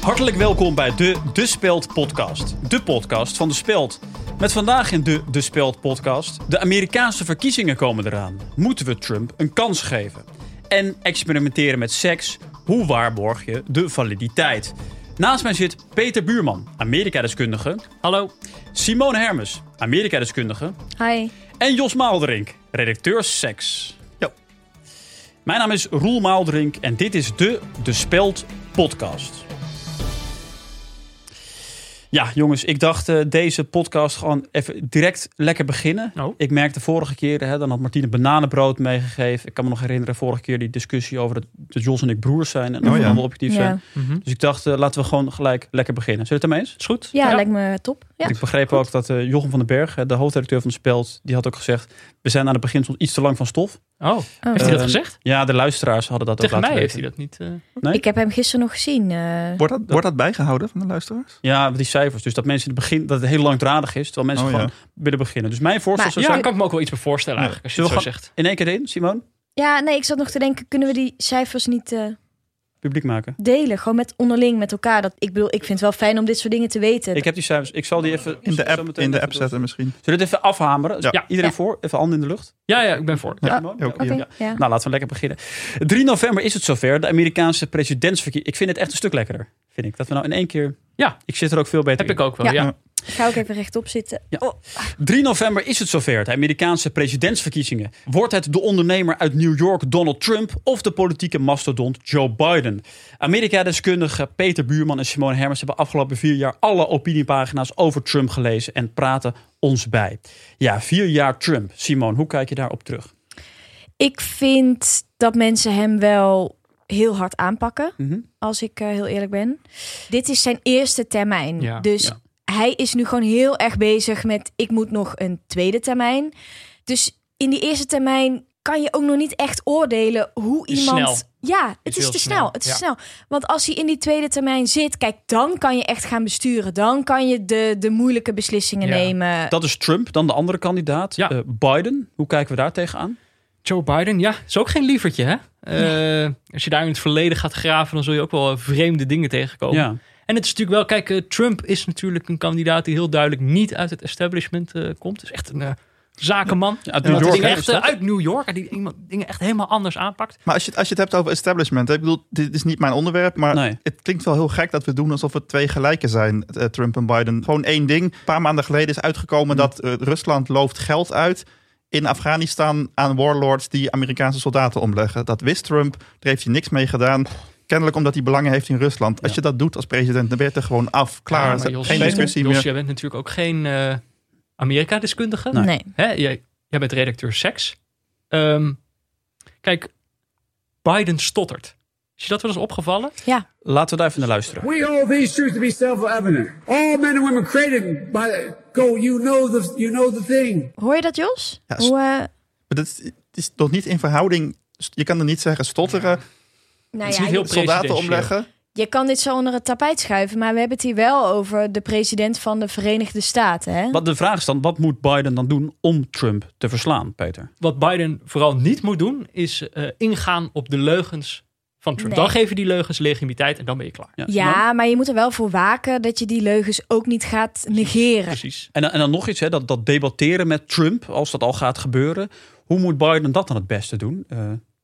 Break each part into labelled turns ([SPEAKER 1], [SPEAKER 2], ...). [SPEAKER 1] Hartelijk welkom bij de De Speld podcast. De podcast van De Speld. Met vandaag in de De Speld podcast. De Amerikaanse verkiezingen komen eraan. Moeten we Trump een kans geven? En experimenteren met seks. Hoe waarborg je de validiteit? Naast mij zit Peter Buurman, Amerika-deskundige. Hallo. Simone Hermes, Amerika-deskundige.
[SPEAKER 2] Hi.
[SPEAKER 1] En Jos Maalderink, redacteur seks. Jo. Mijn naam is Roel Maalderink en dit is de De Speld podcast. Ja, jongens, ik dacht eh, deze podcast gewoon even direct lekker beginnen.
[SPEAKER 3] Oh.
[SPEAKER 1] Ik merkte vorige keer, hè, dan had Martine bananenbrood meegegeven. Ik kan me nog herinneren, vorige keer die discussie over dat, dat Jos en ik broers zijn. En of we
[SPEAKER 4] ja.
[SPEAKER 1] allemaal objectief zijn.
[SPEAKER 2] Ja,
[SPEAKER 1] Dus ik dacht, eh, laten we gewoon gelijk lekker beginnen. Zullen we het ermee eens?
[SPEAKER 3] Is goed?
[SPEAKER 2] ja, lijkt me top. Ja.
[SPEAKER 1] Want ik begreep ook dat eh, Jochem van den Berg, hè, de hoofdredacteur van Speld, die had ook gezegd: We zijn aan het begin soms iets te lang van stof.
[SPEAKER 3] Oh,
[SPEAKER 2] Oh.
[SPEAKER 3] heeft hij dat
[SPEAKER 1] Eh,
[SPEAKER 3] gezegd?
[SPEAKER 1] Ja, de luisteraars hadden dat
[SPEAKER 3] Tegen
[SPEAKER 1] ook
[SPEAKER 3] mij
[SPEAKER 1] laten
[SPEAKER 3] heeft hij
[SPEAKER 1] weten.
[SPEAKER 3] dat niet. eh,
[SPEAKER 1] Nee?
[SPEAKER 2] Ik heb hem gisteren nog gezien. eh.
[SPEAKER 4] Wordt dat, wordt dat bijgehouden van de luisteraars?
[SPEAKER 1] Ja, die cijfers. Dus dat mensen in het begin, dat het heel langdradig is, terwijl mensen
[SPEAKER 4] Oh,
[SPEAKER 1] gewoon willen beginnen. Dus mijn voorstel
[SPEAKER 2] Maar-
[SPEAKER 1] zou
[SPEAKER 3] ja,
[SPEAKER 1] zijn:
[SPEAKER 3] kan ik me ook wel iets bij voorstellen eigenlijk, als je het zo
[SPEAKER 1] Zullen
[SPEAKER 3] zegt.
[SPEAKER 1] in één keer in, Simon,
[SPEAKER 2] Ja, nee, ik zat nog te denken, kunnen we die cijfers niet eh,
[SPEAKER 1] publiek maken.
[SPEAKER 2] delen? Gewoon met onderling, met elkaar. Dat, ik bedoel, ik vind het wel fijn om dit soort dingen te weten.
[SPEAKER 1] Ik heb die cijfers. Ik zal die even
[SPEAKER 4] In
[SPEAKER 1] zo
[SPEAKER 4] de app,
[SPEAKER 1] meteen
[SPEAKER 4] in de
[SPEAKER 1] even
[SPEAKER 4] app
[SPEAKER 1] door-
[SPEAKER 4] zetten misschien.
[SPEAKER 1] Zullen we het even afhameren? Dus
[SPEAKER 4] Ja.
[SPEAKER 3] Ja.
[SPEAKER 1] Iedereen
[SPEAKER 2] Ja.
[SPEAKER 1] voor? Even handen in de lucht.
[SPEAKER 3] Ja, ja, ik ben voor.
[SPEAKER 1] Ja,
[SPEAKER 2] Ja,
[SPEAKER 1] Simon?
[SPEAKER 4] ook
[SPEAKER 1] Ja.
[SPEAKER 2] Oké,
[SPEAKER 1] Ja.
[SPEAKER 2] ja.
[SPEAKER 1] Nou, laten we lekker beginnen. 3 november is het zover. De Amerikaanse presidentsverkiezing. Ik vind het echt een stuk lekkerder. Vind ik. Dat we nou in één keer.
[SPEAKER 3] Ja.
[SPEAKER 1] Ik zit er ook veel beter
[SPEAKER 3] Heb
[SPEAKER 1] in.
[SPEAKER 3] ik ook wel,
[SPEAKER 2] Ja.
[SPEAKER 3] ja.
[SPEAKER 2] Ik Ga ook even rechtop zitten.
[SPEAKER 1] Ja.
[SPEAKER 2] Oh,
[SPEAKER 1] 3 november is het zover, de Amerikaanse presidentsverkiezingen. Wordt het de ondernemer uit New York Donald Trump of de politieke mastodont Joe Biden? Amerika-deskundigen Peter Buurman en Simone Hermers hebben afgelopen vier jaar alle opiniepagina's over Trump gelezen en praten ons bij. Ja, vier jaar Trump. Simone, hoe kijk je daarop terug?
[SPEAKER 2] ik vind dat mensen hem wel heel hard aanpakken,
[SPEAKER 1] Mhm.
[SPEAKER 2] als ik eh, heel eerlijk ben. Dit is zijn eerste termijn.
[SPEAKER 3] Ja,
[SPEAKER 2] Dus
[SPEAKER 1] ja.
[SPEAKER 2] hij is nu gewoon heel erg bezig met ik moet nog een tweede termijn. Dus in die eerste termijn kan je ook nog niet echt oordelen hoe
[SPEAKER 3] Is
[SPEAKER 2] iemand.
[SPEAKER 3] snel.
[SPEAKER 2] Ja,
[SPEAKER 3] Is
[SPEAKER 2] het is,
[SPEAKER 3] heel
[SPEAKER 2] te snel.
[SPEAKER 3] snel,
[SPEAKER 2] Het is
[SPEAKER 3] ja.
[SPEAKER 2] snel. Want als hij in die tweede termijn zit, kijk, dan kan je echt gaan besturen. Dan kan je de, de moeilijke beslissingen
[SPEAKER 3] Ja.
[SPEAKER 2] nemen.
[SPEAKER 1] Dat is Trump, dan de andere kandidaat,
[SPEAKER 3] Ja.
[SPEAKER 1] eh, Biden. Hoe kijken we daar tegenaan?
[SPEAKER 3] Joe Biden, ja, is ook geen lievertje, hè? Eh, Als je daar in het verleden gaat graven, dan zul je ook wel eh, vreemde dingen tegenkomen.
[SPEAKER 1] Ja.
[SPEAKER 3] En het is natuurlijk wel, kijk, eh, Trump is natuurlijk een kandidaat die heel duidelijk niet uit het establishment eh, komt. Is echt een eh, zakenman.
[SPEAKER 1] Uit New
[SPEAKER 4] Ja, dat
[SPEAKER 3] Die
[SPEAKER 1] York.
[SPEAKER 3] dingen
[SPEAKER 1] hè,
[SPEAKER 3] echt
[SPEAKER 1] is
[SPEAKER 3] eh,
[SPEAKER 1] dat?
[SPEAKER 3] uit New York, en die iemand dingen echt helemaal anders aanpakt.
[SPEAKER 4] Maar als je, het- als je het hebt over establishment, hè, ik bedoel, dit is niet mijn onderwerp, maar
[SPEAKER 1] Nee.
[SPEAKER 4] het klinkt wel heel gek dat we doen alsof het twee gelijken zijn, eh, Trump en Biden. Gewoon één ding. Een paar maanden geleden is uitgekomen dat eh, Rusland looft geld uit in Afghanistan aan warlords die Amerikaanse soldaten omleggen. Dat wist Trump, daar heeft hij niks mee gedaan. Kennelijk omdat hij belangen heeft in Rusland. Als
[SPEAKER 1] Ja.
[SPEAKER 4] je dat doet als president, dan ben je het er gewoon af.
[SPEAKER 3] Ja,
[SPEAKER 4] Klaar,
[SPEAKER 3] maar Jos,
[SPEAKER 4] geen
[SPEAKER 3] eh,
[SPEAKER 4] discussie
[SPEAKER 3] Jos,
[SPEAKER 4] meer.
[SPEAKER 3] jij bent natuurlijk ook geen eh, Amerika-deskundige.
[SPEAKER 1] nou,
[SPEAKER 2] nee.
[SPEAKER 3] Hè, jij, jij bent redacteur seks. Ehm, kijk, Biden stottert. Is je dat wel eens opgevallen?
[SPEAKER 1] Laten we daar even naar luisteren.
[SPEAKER 5] We hold these truths to be self-evident. All men and women created by go. You know the you know the thing.
[SPEAKER 2] Hoor je dat, Jos?
[SPEAKER 4] Ja,
[SPEAKER 2] Hoe, eh,
[SPEAKER 4] Maar dat is, het is nog niet in verhouding. Je kan er niet zeggen stotteren,
[SPEAKER 2] nou
[SPEAKER 3] is
[SPEAKER 2] ja,
[SPEAKER 3] niet heel
[SPEAKER 2] je-
[SPEAKER 4] soldaten
[SPEAKER 3] Presidentieel.
[SPEAKER 4] omleggen.
[SPEAKER 2] Je kan dit zo onder het tapijt schuiven, maar we hebben het hier wel over de president van de Verenigde Staten. Hè?
[SPEAKER 1] Wat de vraag is dan, wat moet Biden dan doen om Trump te verslaan, Peter?
[SPEAKER 3] Wat Biden vooral niet moet doen, is eh, ingaan op de leugens van Trump.
[SPEAKER 2] Nee.
[SPEAKER 3] Dan geven die leugens legitimiteit en dan ben je klaar.
[SPEAKER 1] Simone?
[SPEAKER 2] Ja, maar je moet er wel voor waken dat je die leugens ook niet gaat negeren.
[SPEAKER 3] Precies.
[SPEAKER 1] En dan, en dan nog iets, hè, dat, dat debatteren met Trump, als dat al gaat gebeuren. Hoe moet Biden dat dan het beste doen, eh,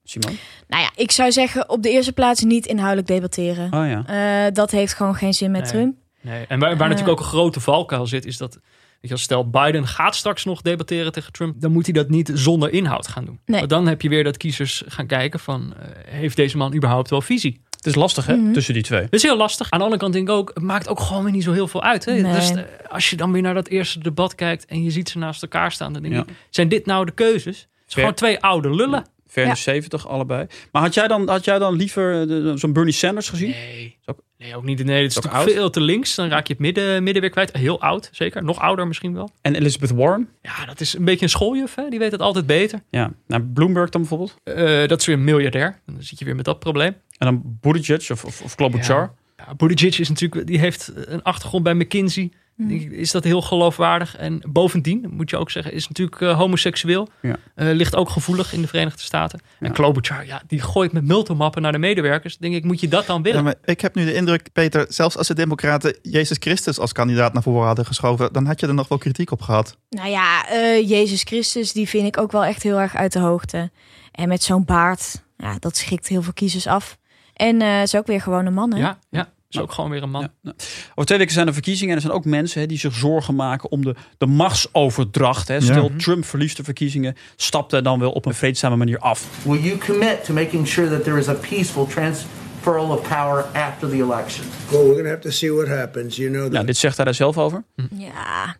[SPEAKER 1] Simon?
[SPEAKER 2] Nou ja, ik zou zeggen op de eerste plaats niet inhoudelijk debatteren.
[SPEAKER 1] Ah ja.
[SPEAKER 2] Eh, dat heeft gewoon geen zin met
[SPEAKER 3] Nee.
[SPEAKER 2] Trump.
[SPEAKER 3] Nee. En waar,
[SPEAKER 2] Ja.
[SPEAKER 3] waar natuurlijk ook een grote valkuil zit, is dat... Weet je, wel, stel, Biden gaat straks nog debatteren tegen Trump. Dan moet hij dat niet zonder inhoud gaan doen.
[SPEAKER 2] Nee.
[SPEAKER 3] Want dan heb je weer dat kiezers gaan kijken van... eh, heeft deze man überhaupt wel visie?
[SPEAKER 1] Het is lastig, hè, tussen die twee.
[SPEAKER 3] Dat is heel lastig. Aan de andere kant denk ik ook, het maakt ook gewoon weer niet zo heel veel uit. Hè?
[SPEAKER 2] Nee.
[SPEAKER 3] Dus, eh, als je dan weer naar dat eerste debat kijkt en je ziet ze naast elkaar staan, dan denk
[SPEAKER 1] Ja.
[SPEAKER 3] ik, zijn dit nou de keuzes? Het is gewoon twee oude lullen.
[SPEAKER 1] Ver in de 70 allebei. Maar had jij dan, had jij dan liever eh, de- zo'n Bernie Sanders gezien?
[SPEAKER 3] Nee. Nee, ook niet. Nee, het is
[SPEAKER 1] Ook
[SPEAKER 3] natuurlijk
[SPEAKER 1] oud?
[SPEAKER 3] veel te links. Dan raak je het midden, midden weer kwijt. Heel oud, zeker. Nog ouder misschien wel.
[SPEAKER 1] En Elizabeth Warren?
[SPEAKER 3] Ja, dat is een beetje een schooljuf. Hè? Die weet het altijd beter.
[SPEAKER 1] Ja. Nou, Bloomberg dan bijvoorbeeld.
[SPEAKER 3] Eh, dat is weer een miljardair. Dan zit je weer met dat probleem.
[SPEAKER 1] En dan Buttigieg of, of, of Klobuchar.
[SPEAKER 3] Ja, Buttigieg is natuurlijk, die heeft een achtergrond bij McKinsey.
[SPEAKER 2] Hmm.
[SPEAKER 3] Is dat heel geloofwaardig? En bovendien, moet je ook zeggen, is natuurlijk eh, homoseksueel.
[SPEAKER 1] Ja.
[SPEAKER 3] Eh, ligt ook gevoelig in de Verenigde Staten. En Klobuchar, ja, die gooit met multimappen naar de medewerkers. Dan denk ik, moet je dat dan willen?
[SPEAKER 4] Ja, maar ik heb nu de indruk, Peter, zelfs als de Democraten Jezus Christus als kandidaat naar voren hadden geschoven, dan had je er nog wel kritiek op gehad.
[SPEAKER 2] Nou ja, eh, Jezus Christus, die vind ik ook wel echt heel erg uit de hoogte. En met zo'n baard, ja, dat schrikt heel veel kiezers af. En eh is ook weer gewoon een man, hè?
[SPEAKER 3] Ja, ja. Is ook gewoon weer een man.
[SPEAKER 1] Ja, ja. Over twee weken zijn er verkiezingen en er zijn ook mensen hè, die zich zorgen maken om de, de machtsoverdracht. Hè. Stel, Trump verliest de verkiezingen, stapt hij dan wel op een vreedzame manier af.
[SPEAKER 6] Will you commit to making sure that there is a peaceful transferal of power after the election?
[SPEAKER 7] Well, we're going to have to see what happens. You know that.
[SPEAKER 1] Nou, dit zegt hij daar zelf over.
[SPEAKER 2] Ja.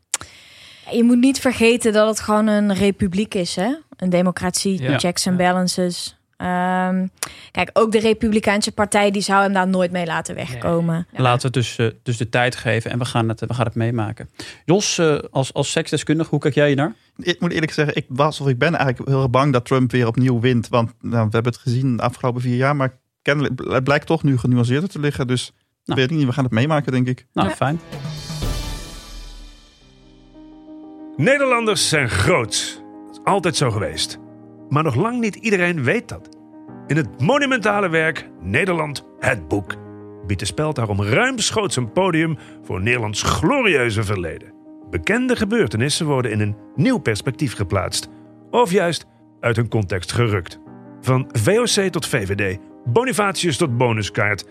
[SPEAKER 2] Je moet niet vergeten dat het gewoon een republiek is, hè? Een democratie,
[SPEAKER 3] Ja.
[SPEAKER 2] checks en balances. Ehm, kijk, ook de Republikeinse Partij die zou hem daar nooit mee laten wegkomen.
[SPEAKER 1] Laten we het dus, eh, dus de tijd geven en we gaan het, eh, we gaan het meemaken. Jos, eh, als, als seksdeskundige, hoe kijk jij hier naar?
[SPEAKER 4] Ik moet eerlijk zeggen, ik was of ik ben eigenlijk heel erg bang dat Trump weer opnieuw wint. Want nou, we hebben het gezien de afgelopen vier jaar, maar kennelijk het blijkt toch nu genuanceerder te liggen. Dus
[SPEAKER 1] Nou.
[SPEAKER 4] weet ik niet, we gaan het meemaken, denk ik.
[SPEAKER 1] Nou, fijn.
[SPEAKER 8] Nederlanders zijn groot. Dat is altijd zo geweest. Maar nog lang niet iedereen weet dat. In het monumentale werk Nederland het boek biedt de speld daarom ruimschoots een podium voor Nederlands glorieuze verleden. Bekende gebeurtenissen worden in een nieuw perspectief geplaatst, of juist uit hun context gerukt. Van VOC tot VVD, Bonifatius tot bonuskaart,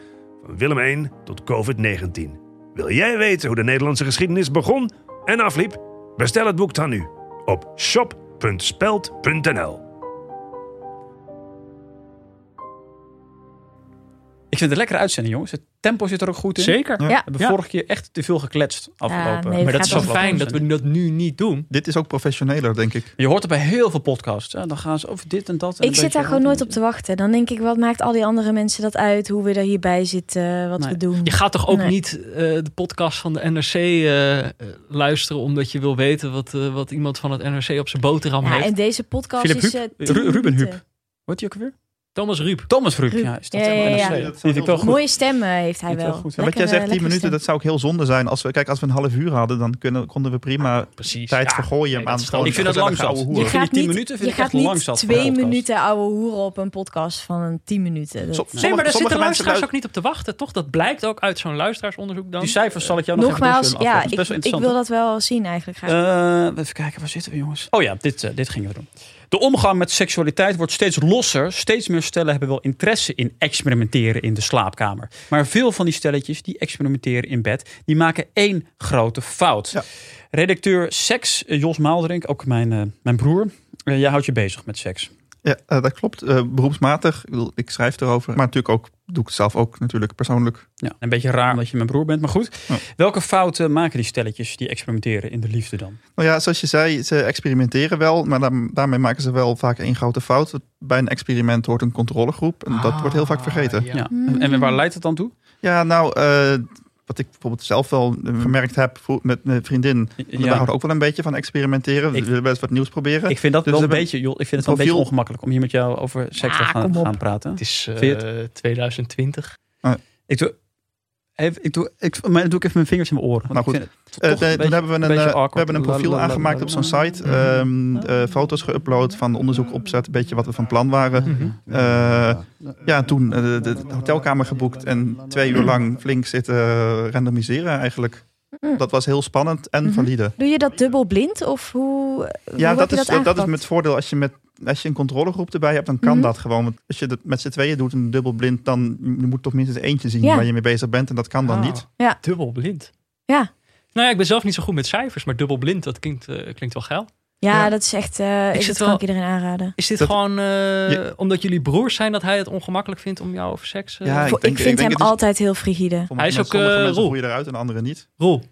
[SPEAKER 8] van Willem I tot COVID-19. Wil jij weten hoe de Nederlandse geschiedenis begon en afliep? Bestel het boek dan nu op shop.speld.nl.
[SPEAKER 1] Ik vind het een lekkere uitzending, jongens. Het tempo zit er ook goed in.
[SPEAKER 3] Zeker.
[SPEAKER 4] Ja.
[SPEAKER 1] We hebben
[SPEAKER 3] Ja.
[SPEAKER 1] vorige keer echt te veel gekletst afgelopen.
[SPEAKER 2] nee,
[SPEAKER 3] Maar dat
[SPEAKER 2] gaat
[SPEAKER 3] is zo
[SPEAKER 2] wel
[SPEAKER 3] fijn dat we dat nu niet doen.
[SPEAKER 4] Dit is ook professioneler, denk ik.
[SPEAKER 1] Je hoort het bij heel veel podcasts. hè. Dan gaan ze over dit en dat. en
[SPEAKER 2] Ik
[SPEAKER 1] een
[SPEAKER 2] zit
[SPEAKER 1] beetje
[SPEAKER 2] daar gewoon
[SPEAKER 1] wat.
[SPEAKER 2] nooit op te wachten. Dan denk ik, wat maakt al die andere mensen dat uit? Hoe we er hierbij zitten, wat
[SPEAKER 1] Nee.
[SPEAKER 2] we doen.
[SPEAKER 3] Je gaat toch ook
[SPEAKER 2] Nee.
[SPEAKER 3] niet eh, de podcast van de NRC eh, eh, luisteren omdat je wil weten wat, eh, wat iemand van het NRC op zijn boterham
[SPEAKER 2] Ja,
[SPEAKER 3] heeft.
[SPEAKER 2] en deze podcast
[SPEAKER 1] Philip
[SPEAKER 2] is...
[SPEAKER 1] Huub?
[SPEAKER 2] eh, tien
[SPEAKER 1] Ru- Ruben
[SPEAKER 2] minuten.
[SPEAKER 1] Huub. Wordt die ook weer?
[SPEAKER 3] Thomas Ruip.
[SPEAKER 1] Thomas Ruip.
[SPEAKER 2] Ruip.
[SPEAKER 1] Ja, is dat
[SPEAKER 2] Ja, ja,
[SPEAKER 1] NRC.
[SPEAKER 2] ja.
[SPEAKER 4] Ja, dat
[SPEAKER 1] Vind ik wel goed.
[SPEAKER 2] Mooie stem eh, heeft hij
[SPEAKER 1] Vind ik
[SPEAKER 2] wel.
[SPEAKER 1] wel goed,
[SPEAKER 4] Ja, wat jij
[SPEAKER 2] Lekkere-
[SPEAKER 4] zegt, 10
[SPEAKER 2] lekkere
[SPEAKER 4] minuten,
[SPEAKER 2] stem.
[SPEAKER 4] dat zou ook heel zonde zijn. Als we, kijk, als we een half uur hadden, dan kunnen, konden we prima
[SPEAKER 3] Precies.
[SPEAKER 4] tijd
[SPEAKER 3] Ja.
[SPEAKER 4] vergooien.
[SPEAKER 3] nee,
[SPEAKER 4] aan
[SPEAKER 3] dat is
[SPEAKER 4] gewoon
[SPEAKER 1] Ik vind dat lang
[SPEAKER 4] gezellige
[SPEAKER 1] zat.
[SPEAKER 4] ouwe
[SPEAKER 2] Je
[SPEAKER 1] Vind
[SPEAKER 4] hoeren.
[SPEAKER 1] ik
[SPEAKER 2] gaat
[SPEAKER 1] die
[SPEAKER 2] niet,
[SPEAKER 1] 10 minuten vind
[SPEAKER 2] je
[SPEAKER 1] ik
[SPEAKER 2] gaat
[SPEAKER 1] echt lang
[SPEAKER 2] niet
[SPEAKER 1] zat voor een
[SPEAKER 2] twee
[SPEAKER 1] podcast.
[SPEAKER 2] minuten ouwe hoeren op een podcast van een 10 minuten. Dat-
[SPEAKER 4] Som-
[SPEAKER 3] Nee, maar
[SPEAKER 4] sommige
[SPEAKER 3] daar zitten
[SPEAKER 4] mensen
[SPEAKER 3] luisteraars
[SPEAKER 4] luid-
[SPEAKER 3] ook niet op te wachten, toch? Dat blijkt ook uit zo'n luisteraarsonderzoek dan.
[SPEAKER 1] Die cijfers zal ik jou nog
[SPEAKER 2] Nogmaals,
[SPEAKER 1] even doorsturen
[SPEAKER 2] ja,
[SPEAKER 1] afgelopen.
[SPEAKER 2] ik,
[SPEAKER 1] Dat is
[SPEAKER 2] ik
[SPEAKER 1] best wel
[SPEAKER 2] wil dat wel zien eigenlijk graag.
[SPEAKER 1] interessant. Eh, even kijken, waar zitten we jongens? Oh ja, dit, eh, dit gingen we doen. De omgang met seksualiteit wordt steeds losser. Steeds meer stellen hebben wel interesse in experimenteren in de slaapkamer. Maar veel van die stelletjes die experimenteren in bed, die maken één grote fout.
[SPEAKER 4] Ja.
[SPEAKER 1] Redacteur seks, eh, Jos Maaldrink, ook mijn, eh, mijn broer. eh, jij houdt je bezig met seks.
[SPEAKER 4] Ja, eh, dat klopt. Eh, beroepsmatig, ik, bedoel, ik schrijf erover. Maar natuurlijk ook, doe ik het zelf ook natuurlijk persoonlijk.
[SPEAKER 1] Ja, een beetje raar omdat je mijn broer bent, maar goed.
[SPEAKER 4] Ja.
[SPEAKER 1] Welke fouten maken die stelletjes die experimenteren in de liefde dan?
[SPEAKER 4] Nou ja, zoals je zei, ze experimenteren wel. Maar daar- daarmee maken ze wel vaak één grote fout. Bij een experiment hoort een controlegroep. En dat wordt heel vaak vergeten.
[SPEAKER 1] Ah, Ja. En, en waar leidt het dan toe?
[SPEAKER 4] Ja, nou, eh, wat ik bijvoorbeeld zelf wel eh, gemerkt heb voor- met mijn vriendin.
[SPEAKER 1] Ja.
[SPEAKER 4] We houden ook wel een beetje van experimenteren.
[SPEAKER 1] Ik-
[SPEAKER 4] We willen best wat nieuws proberen.
[SPEAKER 1] Ik vind dat
[SPEAKER 4] Dus
[SPEAKER 1] wel
[SPEAKER 4] we
[SPEAKER 1] een
[SPEAKER 4] hebben-
[SPEAKER 1] beetje, joh, ik vind het wel een beetje
[SPEAKER 4] profiel-
[SPEAKER 1] ongemakkelijk om hier met jou over seks te
[SPEAKER 2] Ah,
[SPEAKER 1] gaan,
[SPEAKER 2] kom op.
[SPEAKER 1] gaan praten.
[SPEAKER 3] Het is eh,
[SPEAKER 1] Vind
[SPEAKER 3] 2020.
[SPEAKER 1] Ik doe, even, ik doe, ik, maar dan doe ik even mijn vingers in mijn oren. want
[SPEAKER 4] Maar
[SPEAKER 1] ik
[SPEAKER 4] goed,
[SPEAKER 1] vind het toch
[SPEAKER 4] Eh,
[SPEAKER 1] een
[SPEAKER 4] nee,
[SPEAKER 1] beetje-
[SPEAKER 4] toen hebben we
[SPEAKER 1] beetje
[SPEAKER 4] een, eh,
[SPEAKER 1] awkward.
[SPEAKER 4] we hebben een profiel
[SPEAKER 1] La, la, la,
[SPEAKER 4] aangemaakt
[SPEAKER 1] la,
[SPEAKER 4] op zo'n
[SPEAKER 1] la.
[SPEAKER 4] site. Ehm, eh, foto's geüpload van onderzoek opzet. Een beetje wat we van plan waren.
[SPEAKER 3] Mhm.
[SPEAKER 4] Eh, ja, toen eh, de, de hotelkamer geboekt. En twee uur lang flink zitten randomiseren eigenlijk.
[SPEAKER 2] Mm.
[SPEAKER 4] Dat was heel spannend
[SPEAKER 2] Mhm.
[SPEAKER 4] en valide.
[SPEAKER 2] Doe je dat dubbel blind of hoe, hoe
[SPEAKER 4] Ja,
[SPEAKER 2] heb
[SPEAKER 4] dat
[SPEAKER 2] je
[SPEAKER 4] is,
[SPEAKER 2] dat
[SPEAKER 4] dat, is
[SPEAKER 2] aangepakt? Mhm.
[SPEAKER 4] met het voordeel als je, met, als je een controlegroep erbij hebt, dan kan dat gewoon. Want als je dat met z'n tweeën doet, een dubbelblind, dan je moet toch minstens eentje zien
[SPEAKER 2] Ja.
[SPEAKER 4] waar je mee bezig bent. En dat kan dan
[SPEAKER 3] Ah.
[SPEAKER 4] niet.
[SPEAKER 3] Dubbel blind.
[SPEAKER 2] Ja.
[SPEAKER 3] Nou ja, ik ben zelf niet zo goed met cijfers, maar dubbel blind, dat klinkt, eh, klinkt wel geil.
[SPEAKER 2] Ja,
[SPEAKER 4] Ja.
[SPEAKER 2] dat is echt... eh
[SPEAKER 3] Ik
[SPEAKER 2] ik dat
[SPEAKER 3] zit
[SPEAKER 2] kan ik
[SPEAKER 3] wel-
[SPEAKER 2] iedereen aanraden.
[SPEAKER 3] Is dit
[SPEAKER 4] Dat-
[SPEAKER 3] gewoon eh,
[SPEAKER 4] Je-
[SPEAKER 3] omdat jullie broers zijn dat hij het ongemakkelijk vindt om jou over seks? eh,
[SPEAKER 4] Ja, ik
[SPEAKER 2] Voor- ik,
[SPEAKER 4] denk- ik
[SPEAKER 2] vind
[SPEAKER 4] denk
[SPEAKER 2] hem
[SPEAKER 4] het is-
[SPEAKER 2] altijd heel frigide.
[SPEAKER 4] Sommige
[SPEAKER 3] Hij is
[SPEAKER 4] mensen-
[SPEAKER 3] ook,
[SPEAKER 4] sommige
[SPEAKER 3] eh,
[SPEAKER 4] mensen
[SPEAKER 3] Roel.
[SPEAKER 4] voel je eruit en anderen niet.
[SPEAKER 3] Roel.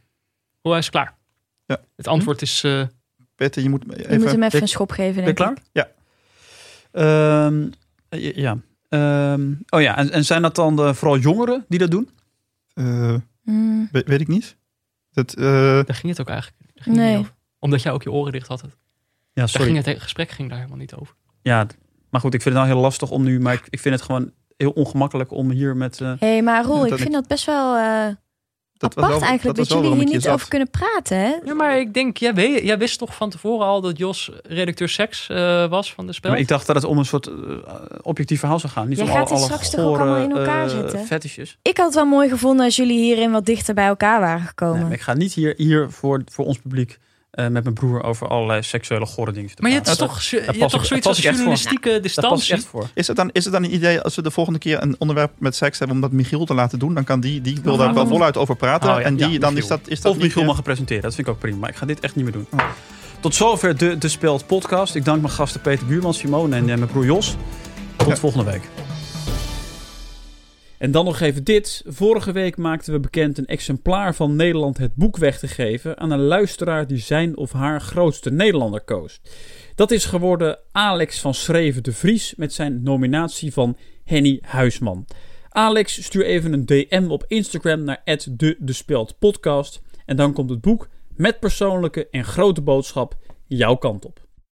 [SPEAKER 3] Roel, hij is klaar.
[SPEAKER 4] Ja.
[SPEAKER 3] Het antwoord is... eh,
[SPEAKER 4] Peter, je moet
[SPEAKER 2] Je moet hem
[SPEAKER 4] even...
[SPEAKER 2] even
[SPEAKER 1] ik-
[SPEAKER 2] een schop geven,
[SPEAKER 1] Ben je
[SPEAKER 2] denk ik.
[SPEAKER 1] klaar? Ehm, eh, ja. Ehm, oh ja, en, en zijn dat dan eh, vooral jongeren die dat doen?
[SPEAKER 4] eh,
[SPEAKER 2] Mm,
[SPEAKER 4] we- weet ik niet. Dat, eh,
[SPEAKER 3] daar ging het ook eigenlijk daar ging het
[SPEAKER 2] Nee.
[SPEAKER 3] niet over. Omdat jij ook je oren dicht had. Daar
[SPEAKER 1] Ja, sorry.
[SPEAKER 3] ging het, het gesprek ging daar helemaal niet over.
[SPEAKER 1] Ja, d- maar goed, ik vind het nou heel lastig om nu, maar ik, ik vind het gewoon heel ongemakkelijk om hier met... eh,
[SPEAKER 2] Hé, maar Roel,
[SPEAKER 4] Ja,
[SPEAKER 2] ik
[SPEAKER 4] dat
[SPEAKER 2] vind
[SPEAKER 4] ik-
[SPEAKER 2] dat best wel eh,
[SPEAKER 4] Dat
[SPEAKER 2] Apart
[SPEAKER 4] wel-
[SPEAKER 2] eigenlijk dat,
[SPEAKER 4] was wel
[SPEAKER 2] jullie
[SPEAKER 4] waarom
[SPEAKER 2] hier
[SPEAKER 4] ik
[SPEAKER 2] niet
[SPEAKER 4] zat.
[SPEAKER 2] over kunnen praten, hè?
[SPEAKER 3] Ja, maar ik denk, jij, weet, jij wist toch van tevoren al dat Jos redacteur seks eh, was van de spel?
[SPEAKER 1] Maar ik dacht dat het om een soort eh, objectief verhaal zou gaan. Niet
[SPEAKER 2] Jij
[SPEAKER 1] om
[SPEAKER 2] gaat
[SPEAKER 1] al-
[SPEAKER 2] dit
[SPEAKER 1] alle
[SPEAKER 2] straks toch ook
[SPEAKER 1] gore,
[SPEAKER 2] allemaal in elkaar
[SPEAKER 1] eh,
[SPEAKER 2] zetten?
[SPEAKER 1] fetishes.
[SPEAKER 2] Ik had het wel mooi gevonden als jullie hierin wat dichter bij elkaar waren gekomen.
[SPEAKER 1] Nee, maar ik ga niet hier, hier voor, voor ons publiek eh, met mijn broer over allerlei seksuele gore dingen zitten
[SPEAKER 3] Maar je hebt
[SPEAKER 1] praten.
[SPEAKER 3] toch, je
[SPEAKER 1] pas
[SPEAKER 3] hebt
[SPEAKER 1] ik-
[SPEAKER 3] toch
[SPEAKER 1] daar
[SPEAKER 3] zoiets
[SPEAKER 1] pas
[SPEAKER 3] als
[SPEAKER 1] ik echt voor.
[SPEAKER 3] journalistieke
[SPEAKER 1] Daar pas ik
[SPEAKER 3] distantie?
[SPEAKER 1] echt voor.
[SPEAKER 4] Is het, dan, is het dan een idee als we de volgende keer een onderwerp met seks hebben om dat Michiel te laten doen? Dan kan die, die wil daar wel voluit over praten.
[SPEAKER 1] Oh ja,
[SPEAKER 4] en die,
[SPEAKER 1] ja,
[SPEAKER 4] dan is
[SPEAKER 1] Michiel.
[SPEAKER 4] dat, is dat
[SPEAKER 1] of
[SPEAKER 4] niet,
[SPEAKER 1] Michiel
[SPEAKER 4] eh,
[SPEAKER 1] mag het presenteren, dat vind ik ook prima. Maar ik ga dit echt niet meer doen. Tot zover de, de Speld podcast. Ik dank mijn gasten Peter Buurman, Simone en eh, mijn broer Jos. Tot volgende week. En dan nog even dit. Vorige week maakten we bekend een exemplaar van Nederland het boek weg te geven aan een luisteraar die zijn of haar grootste Nederlander koos. Dat is geworden Alex van Schreven de Vries met zijn nominatie van Henny Huisman. Alex, stuur even een DM op Instagram naar de De Speelt Podcast. En dan komt het boek met persoonlijke en grote boodschap jouw kant op.